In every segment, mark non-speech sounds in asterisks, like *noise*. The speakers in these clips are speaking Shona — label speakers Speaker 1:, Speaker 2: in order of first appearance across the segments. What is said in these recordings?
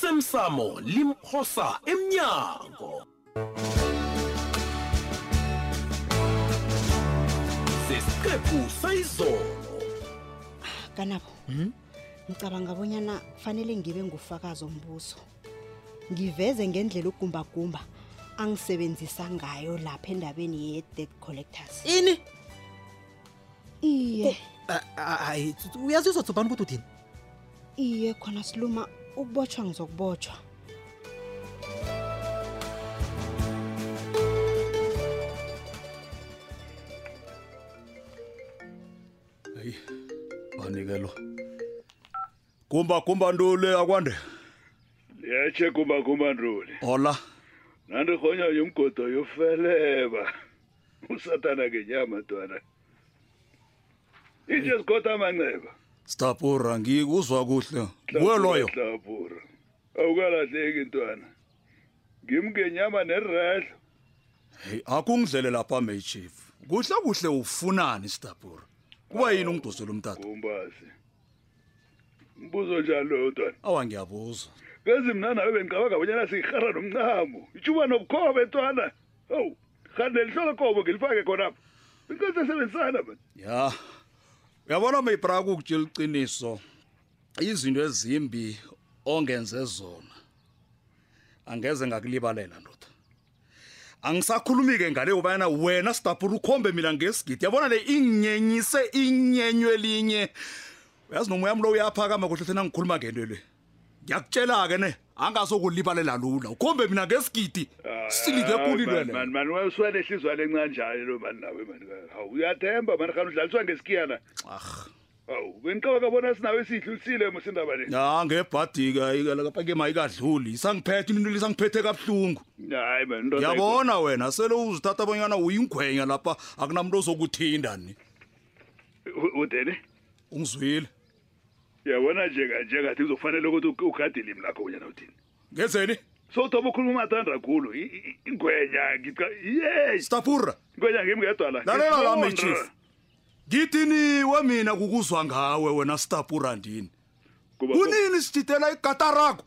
Speaker 1: osemsamo limphosa emnyango sesiqephu sayizolo
Speaker 2: kanabo ngicabanga abonyana kufanele ngibe ngufakazi ombuso ngiveze ngendlela ugumbagumba angisebenzisa ngayo lapha endabeni ye-dead collectors Eh.
Speaker 3: ini
Speaker 2: iye
Speaker 3: Ah, ah, hayi Tsutsu, uyazizwa tsubani ukuthi udini
Speaker 2: iye khona siluma ukubotshwa ngizokubotshwa
Speaker 4: hayi banikelo kumba kumba ntule akwande
Speaker 5: yeche kuba kuba nduli
Speaker 4: hola
Speaker 5: nandihonya yomgodo yofeleba usatana ngenyama ntwana itshe sigota amanceba
Speaker 4: stapura ngikuzwa kuhle nguwe loyo
Speaker 5: hlapura awukalahleki ntwana ngimngenyama neredlo
Speaker 4: heyi akungidlele lapha may chief kuhle kuhle ufunani stapura kuba yini ungidosela umtata
Speaker 5: gumbasi mbuzo njani loyo ntwana
Speaker 4: awa ngiyabuza
Speaker 5: kezi mna nawe bendicabanga bonyana siyirhara nomncamo itshuba nobukhobe ntwana owu rhande lihlolokobo ngilifake khonapha inkosi esebenzisana mani
Speaker 4: ya uyabona mayibraka ukutshela iqiniso izinto ezimbi ongenze zona angeze ngakulibalela ndoda angisakhulumi-ke ngale ubayana wena sidapula ukhombe mina ngesigidi yabona le inginyenyise inyenywe elinye uyazi nomoya mlo uyaphakama kuhle hlena ngikhuluma ngento le ngiyakutshela-ke ne angazokulibalela lula ukhombe mina ngesigidi silike kulilwele
Speaker 5: mani weswele ihlizwane encanjani lo mani nawe mani hawu uyathemba mani khani udlaliswa ngesikiyana
Speaker 4: ah
Speaker 5: hawu bendiqabaka bona sinawe siyidlulisile mosindaba le
Speaker 4: ya ngebhadi-ke ayikapha ke mayikadluli isangiphethe into lisangiphethe kabuhlungu
Speaker 5: hayi mani nto
Speaker 4: ngiyabona wena sele uzithatha abanyana uyingwenya lapha akunamntu ozokuthinda ni
Speaker 5: udeni
Speaker 4: ungizwile
Speaker 5: uyabona njenga njengathi kuzofanele ukuthi ugadile imi lakho unyana uthini
Speaker 4: ngenzeni
Speaker 5: sowuthoba ukhuluma umathanda kakhulu I- i- ingwenya ngica yeyi
Speaker 4: stapura
Speaker 5: ingwenya ngimngedwa la
Speaker 4: lalela lami
Speaker 5: Ngiqonda.
Speaker 4: chief ngithiniwe mina kukuzwa ngawe wena stapura ndini
Speaker 5: Kuba-
Speaker 4: kunini sididela igata rakho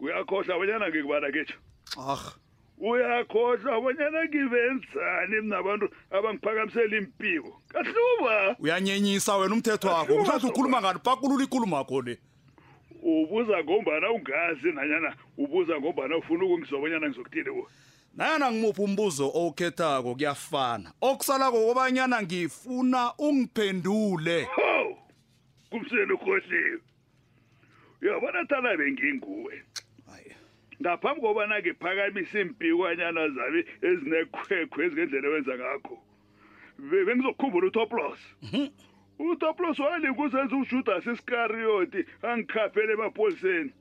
Speaker 5: uyakhohlwa abanyana ngikubana ketsho
Speaker 4: ah
Speaker 5: uyakhohlwa abanyana ngivenzani mna abantu abangiphakamisela impiko kahluba
Speaker 4: uyanyenyisa wena umthetho wakho kuhlathi ukhuluma ngani pakulula ikulumo akho le
Speaker 5: ubuza ngombana ungazi nanyana ubuza ngombana ufuna ukungizobonyana ngizokuthini kuwe
Speaker 4: nayana ngimuphi umbuzo owukhethako kuyafana okusala kokobanyana ngifuna ungiphendule
Speaker 5: ho kumseni ukhohliwe uyabona thana benginguwe
Speaker 4: Hayi.
Speaker 5: ngaphambi kobana ngiphakamise iimpikanyana zabi ezinekhwekhwe ezingendlela ewenza ngakho Be- bengizokhumbula utoplos utoplos walingusenza ujudas iskariyoti angikhaphele emapoliseni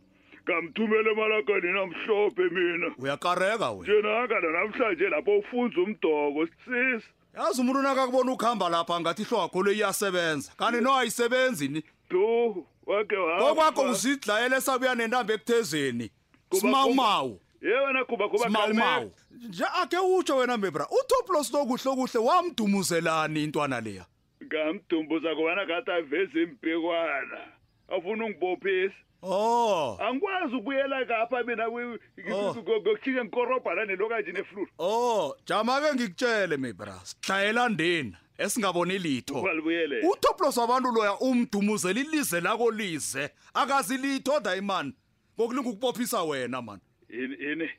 Speaker 5: ngamthumela emalageni namhlophe mina
Speaker 4: uyakareka wena
Speaker 5: njenaka nanamhlanje lapho ufunza umdoko sis
Speaker 4: yazi umuntu nakakubona ukuhamba lapha ngathi ihlo yakho le iyasebenza kanti no ayisebenzi ni
Speaker 5: du wake
Speaker 4: kokwakho usidlayela esabuya nentambo ekuthezeni simawumawu
Speaker 5: yewena kuba kuba
Speaker 4: simawumawu nje akhe utsho wena mbebra utoplos lokuhle okuhle wamdumuzelani intwana leya
Speaker 5: ngamdumbuza kubana ngathi aveze impikwana afuna ungibophisa
Speaker 4: o
Speaker 5: angikwazi ukubuyela kapha mina
Speaker 4: Oh.
Speaker 5: ngokushinga ngikorobhana nelokanje neflulu
Speaker 4: o oh, jama-ke ngikutshele mbebra sidlayela ndeni esingaboni litho
Speaker 5: ngalibuyelela
Speaker 4: utoplos wabantu loya umdumuzela ilize lako lize akazi litho dayimani ngokulinga ukubophisa wena mani
Speaker 5: ini ini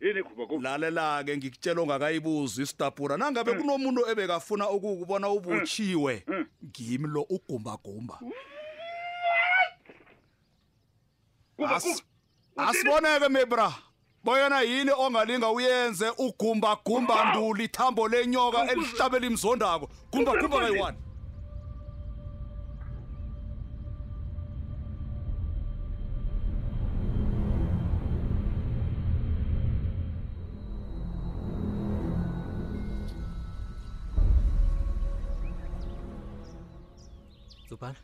Speaker 5: ini kuba kuba
Speaker 4: lalela-ke ngikutshela ongakayibuzi istapura nangabe kunomuntu ebekafuna ukukubona ubutshiwe
Speaker 5: Mm.
Speaker 4: ngimi lo ugumbagumba
Speaker 5: kuba
Speaker 4: Asi- asiboneke mebra boyana yini ongalinga uyenze ugumbagumba nduli thambo lenyoka elihlabela imzondako gumbagumba kayi-one
Speaker 3: tsubana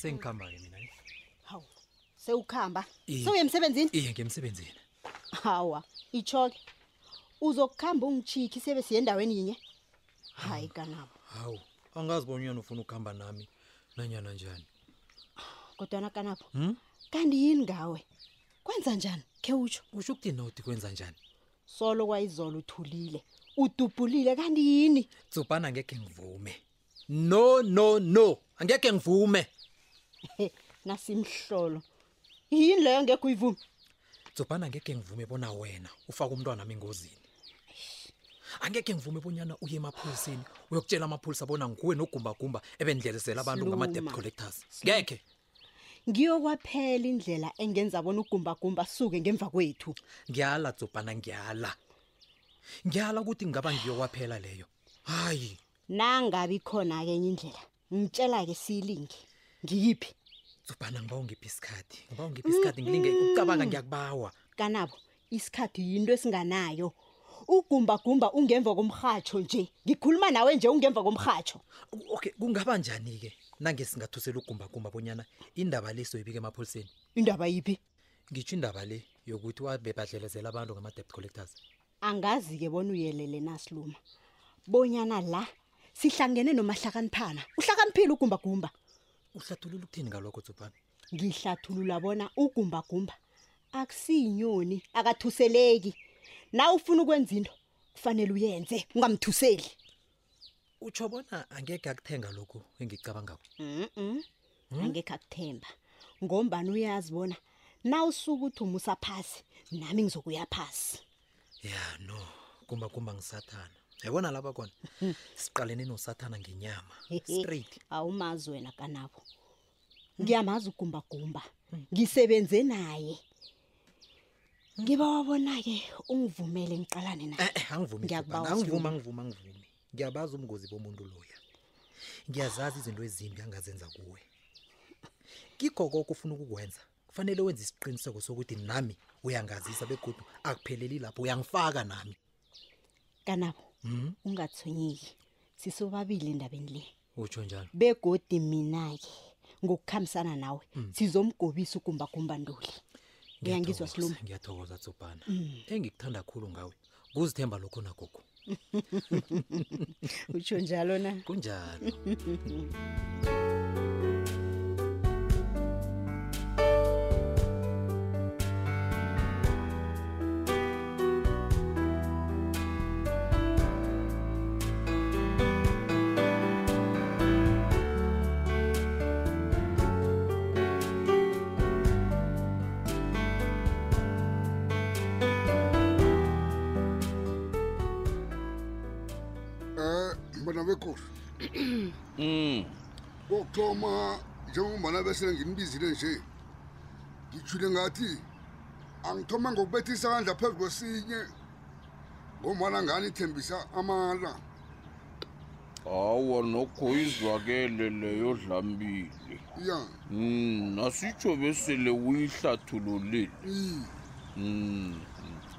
Speaker 3: sengikhamba-ke mina eh? ne?
Speaker 2: hawu sewukhamba
Speaker 3: Iye.
Speaker 2: sewuye emsebenzini
Speaker 3: iye ngiya emsebenzini
Speaker 2: hawa itsho-ke uzokukhamba ungitshikhi sebe siye endaweni yinye hayi kanabo
Speaker 3: hawu angazi bonyana ufuna ukuhamba nami nanyana njani
Speaker 2: kodwana kanabo kanti yini ngawe kwenza njani khe utsho
Speaker 3: usho ukuthini na uthi kwenza njani
Speaker 2: solo kwayizolo uthulile udubhulile kanti yini
Speaker 3: tsubhana angekhe ngivume no no no angekhe ngivume
Speaker 2: he *laughs* nasimhlolo yini leyo ngekho uyivume
Speaker 3: tsubhana angekhe ngivume bona wena ufake umntwana ami engozini angekhe ngivume bonyana uye emapholiseni uyokutshela amapholisa bona nguwe nogumbagumba ebendlelezela abantu ngama-debt
Speaker 2: Siluma.
Speaker 3: collectors ngekhe
Speaker 2: ngiyo kwaphela indlela engenza bona ugumbagumba asuke ngemva kwethu
Speaker 3: ngiyala dzobhana ngiyala ngiyala ukuthi ngingaba ngiyo kwaphela leyo hayi
Speaker 2: nangabi khona-ke enye indlela ngitshela-ke siyilinge ngiyiphi
Speaker 3: dzobhana ngiba ungiphi isikhathi ngiba ungiphi isikhathi ngilinge ukucabanga ngiyakubawa
Speaker 2: kanabo isikhathi yinto esinganayo ugumbagumba ungemva komrhatsho nje ngikhuluma nawe nje ungemva komrhatsho
Speaker 3: O- okay kungaba njani-ke nangesingathusela ugumbagumba bonyana indaba le soyibika emapholiseni
Speaker 2: indaba yiphi
Speaker 3: ngitsho indaba le yokuthi wabebadlelezela abantu ngama-debt collectors
Speaker 2: angazi-ke bona uyelele nasiluma bonyana la sihlangene nomahlakaniphana uhlakaniphile ugumbagumba
Speaker 3: uhlathulula ukuthini ngalokho dzobhana
Speaker 2: ngihlathulula bona ugumbagumba akusiyinyoni akathuseleki na ufuna ukwenza into kufanele uyenze ungamthuseli
Speaker 3: utsho bona angekhe akuthenga lokhu engicabangako
Speaker 2: Mhm. angekhe akuthemba ngombani uyazi bona na usuke uthuma usaphasi nami ngizokuya phasi
Speaker 3: ya no gumbagumba ngisathana yabona lapha kona siqalene nosathana ngenyama straight
Speaker 2: awumazi wena kanabo ngiyamazi ugumbagumba ngisebenze naye ngiba wabona-ke ungivumele ngiqalane
Speaker 6: Eh.
Speaker 2: naye
Speaker 3: Eh-eh, Eh, angivumi
Speaker 2: Ngiyakubawa,
Speaker 3: Jobana, angivumi
Speaker 2: Siluma.
Speaker 3: angivumi angivumi ngiyabazi ubungozi bomuntu loya ngiyazazi izinto ezimbi angazenza kuwe kikho koko ufuna ukukwenza kufanele wenze isiqiniseko sokuthi nami uyangazisa begodu akupheleli lapho uyangifaka nami
Speaker 2: kanabo
Speaker 3: Mhm.
Speaker 6: Hmm?
Speaker 2: ungathonyeki sisobabili endabeni le
Speaker 3: utsho njalo
Speaker 2: begodi mina-ke ngokukhambisana nawe
Speaker 6: Hmm.
Speaker 2: sizomgobisa ugumbagumba ntuli ngiyangizwa Mm.
Speaker 3: Ngiyathokoza,
Speaker 2: siluma
Speaker 3: ngiyathokoza tsubhana engikuthanda khulu ngawe kuzithemba lokho nagogo
Speaker 2: utsho njalo na
Speaker 3: kunjalo
Speaker 7: Eh mbona bekhosi.
Speaker 4: Mm.
Speaker 7: Kokuthoma njengombana bese nginibizile nje. Ngijule ngathi angithoma ngokubethisa kandla phezulu kwesinye. Ngombana ngani ithembisa amala.
Speaker 4: Hawa nokho izwakele leyo dlambile.
Speaker 7: Ya.
Speaker 4: Mm, nasitsho bese le uyihlathululile.
Speaker 7: Mm.
Speaker 4: Mm.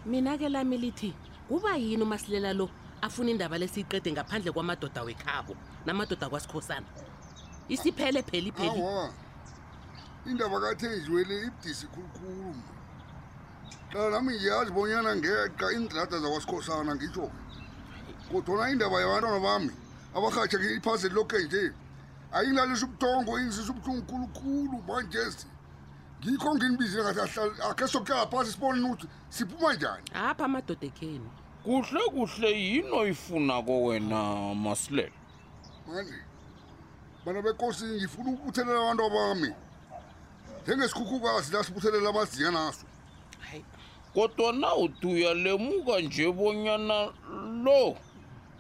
Speaker 8: mina-ke lami lithi kuba yini umasilela lo afuna indaba lesiyiqede ngaphandle kwamadoda wekhabo namadoda kwasikhosana isiphele pheli pheli
Speaker 7: Awa. Indaba kathenjiwele ibudisi khulukhulu. Qala nami ngiyazi bonyana ngeqa indlada zakwasikhosana ngitsho. Kodwana indaba yabantwana bami abarhatsha iphasi lokhe nje ayingilalisa ubuthongo ingizisa ubuhlungu khulukhulu manjesi. Ngikho nginibizile ngathi ahlale- akhe sokuhlala phasi sibone ukuthi siphuma njani.
Speaker 8: apha amadoda ekheni
Speaker 4: Kuhle kuhle yini oyifuna kowena Masilela?
Speaker 7: manje bana bekosi ngifuna ukubuthelela abantu bami njengesikhukhukazi lasibuthelela amaziya naso
Speaker 8: hayi
Speaker 4: Kodwa na utuyalemuka nje bonyana lo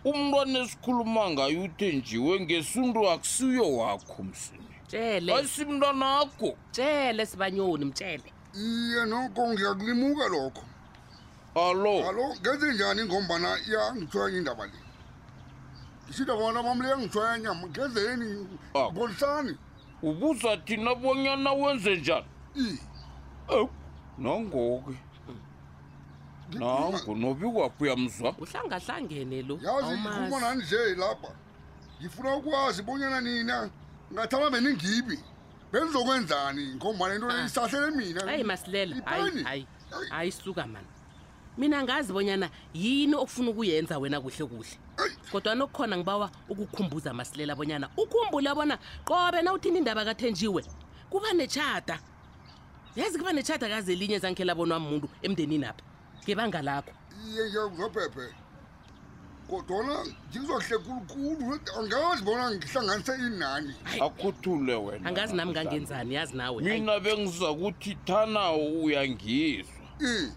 Speaker 4: umntwana esikhuluma ngayo uthenjiwe ngesundu akusiyo wakho msini.
Speaker 8: tshele
Speaker 4: Ayisimntwana akho.
Speaker 8: tshele sibanyoni mtshele
Speaker 7: iye nokho ngiyakulimuka lokho
Speaker 4: Alo.
Speaker 7: alo ngenze njani ngombana iyangithwanya indaba le ngishida bona bami leyangithwanya nyama ngenzeni
Speaker 4: Ah.
Speaker 7: bonisani
Speaker 4: Ubuza thina bonyana wenze njani?
Speaker 7: i
Speaker 4: Ewu, nangoke nango nobikwaphi uyamzwa
Speaker 8: uhlangahlangene lo Oh,
Speaker 7: yazi ngikhuluma nani nje lapha ngifuna ukwazi bonyana nina ngathana beningibi benizokwenzani ngombana into le
Speaker 8: Ah.
Speaker 7: isahlele mina
Speaker 8: hayi masilela hayi
Speaker 7: Ipani.
Speaker 8: hayi hayi suka mani mina ngazi bonyana yini okufuna ukuyenza wena kuhle kuhle
Speaker 7: Ayi.
Speaker 8: kodwa nokukhona ngibawa ukukhumbuza masilela bonyana ukhumbule bona qobe na uthinda indaba kathenjiwe kuba netshata yazi kuba netshatakazi elinye ezangikhe labonwa muntu emndenini apha ngebanga lakho
Speaker 7: iye ngiyakuzwa phephe kodwana ngizohle khulukhulu angazi bona ngihlanganise inani
Speaker 9: akhuthule wena
Speaker 8: angazi nami ngangenzani yazi nawe hayi.
Speaker 9: mina bengizakuthi thana uyangizwa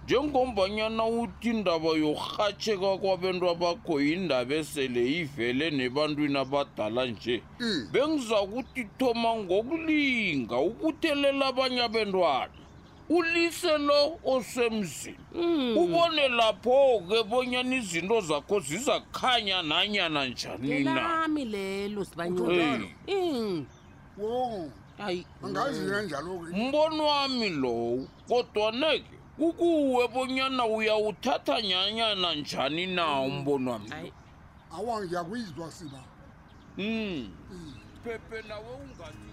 Speaker 9: njengombanyana uthi indaba yokurhatsheka kwabantu abakho yindaba esele ivele nebantwini abadala nje
Speaker 7: Mm.
Speaker 9: bengizakuthi thoma ngokulinga ukuthelela abanye abentwana ulise lo osemzini ubone lapho-ke bonyana izinto zakho zizakhanya nanyana njani na
Speaker 8: lelami lelo
Speaker 9: Hey.
Speaker 8: sibanyoni
Speaker 7: wo
Speaker 8: hayi
Speaker 7: angazi kanjalo-ke
Speaker 9: mbono wami lowo kodwaneke kukuwe bonyana uyawuthatha nyanyana njani na umbono wami
Speaker 8: hayi
Speaker 7: awa ngiyakuyizwa siba
Speaker 9: Mm. pepe nawe ungathi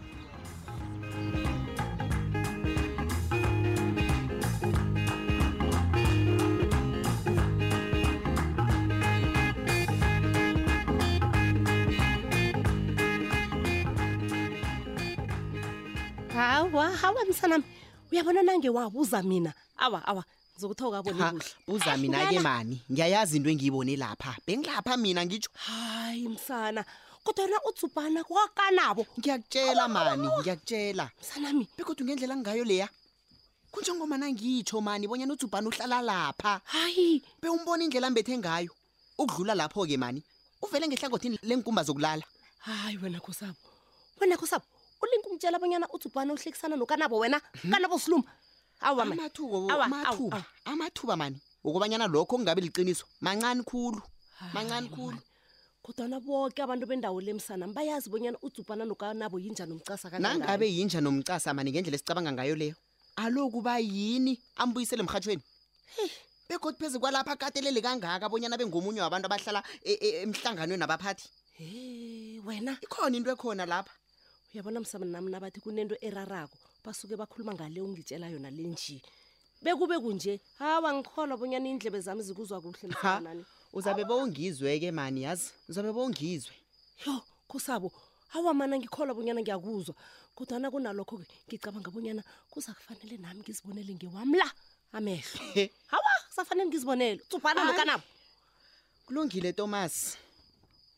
Speaker 10: hawa hawa msanami uyabona nange wabuza mina awa awa ngizokuthoka abone
Speaker 6: Ha,
Speaker 10: kuhle Ah,
Speaker 6: buza mina-ke mani ngiyayazi into engiyibone lapha bengilapha mina ngitsho
Speaker 10: hayi msana kodwa yona utsubhana kwakanabo
Speaker 6: ngiyakutshela mani ngiyakutshela
Speaker 10: msanami
Speaker 6: bekodwa ngendlela ngayo leya kunjengomana ngitsho mani bonyana ujubhane uhlala lapha
Speaker 10: hayi
Speaker 6: bewumbona indlela ambethe ngayo ukudlula lapho-ke mani uvele ngehlangothini lenkumba zokulala
Speaker 10: hayi wena khosabo wena khosabo ulinke umtshela bonyana utsubhana uhlekisana nokanabo wena kanabo siluma awa man.
Speaker 6: Mhm. amathuba wo-
Speaker 10: Awa, awa,
Speaker 6: amathuba
Speaker 10: awa.
Speaker 6: amathuba mani ukubanyana lokho kungabe liqiniso mancane khulu
Speaker 10: Ah,
Speaker 6: mancane khulu
Speaker 10: kodwana boke abantu bendawo le msanami bayazi bonyana utsubhana nokanabo yinjani umcasa
Speaker 6: nangabe yinja nomcasa mani ngendlela esicabanga ngayo leyo alokuba yini ambuyisele emrhatshweni begodi phezu kwalapha akatelele kangaka bonyana bengomunye wabantu abahlala e- e- emhlanganweni abaphathi
Speaker 10: he wena
Speaker 6: ikhona into ekhona lapha
Speaker 10: uyabona msamanami nabathi kunento erarako basuke bakhuluma ngale ungitshela yona le nje bekube kunje hawa ngikholwa bonyana iindlebe zami zikuzwa kuhle
Speaker 6: ha
Speaker 10: msanami
Speaker 6: uzabe bowungizwe-ke mani yazi uzabe bowungizwe
Speaker 10: yo khosabo hawa mana ngikholwa bonyana ngiyakuzwa kodwana kunalokho-ke ngicabanga bonyana kuza kufanele nami ngizibonele ngewami la
Speaker 6: *laughs*
Speaker 10: amehlo
Speaker 6: He.
Speaker 10: hawa kusafanele ngizibonele tsubhana
Speaker 6: Ah,
Speaker 10: nokanabo
Speaker 6: kulungile tomasi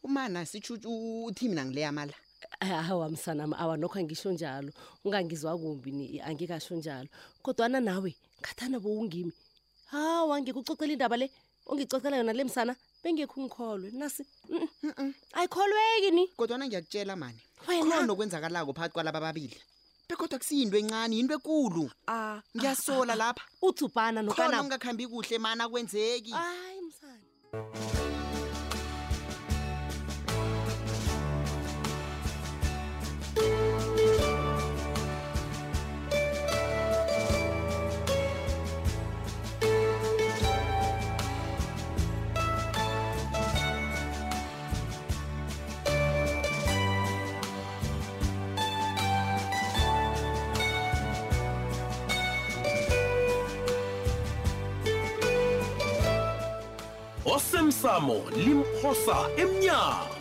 Speaker 6: umana sitsho uthi mina ngileyamala
Speaker 10: hawa msanami awa nokho angisho njalo ungangizwa kumbi ni angikasho njalo kodwana nawe ngathana bowungimi hawa ngikucocela indaba le ongicocela yona le msana bengekho ngikholwe nasi mm, mm, mm. ayikholweki ni
Speaker 6: kodwana ngiyakutshela mani
Speaker 10: Wena.
Speaker 6: khona okwenzakalako phakathi kwalaba babili bekodwa kusiyinto encane yinto ekulu
Speaker 10: Ah,
Speaker 6: ngiyasola lapha
Speaker 10: utsubhana
Speaker 6: khona
Speaker 10: nokanabo
Speaker 6: ungakhambi kuhle mani akwenzeki
Speaker 10: hayi msana
Speaker 1: osemsamo limphosa emnyango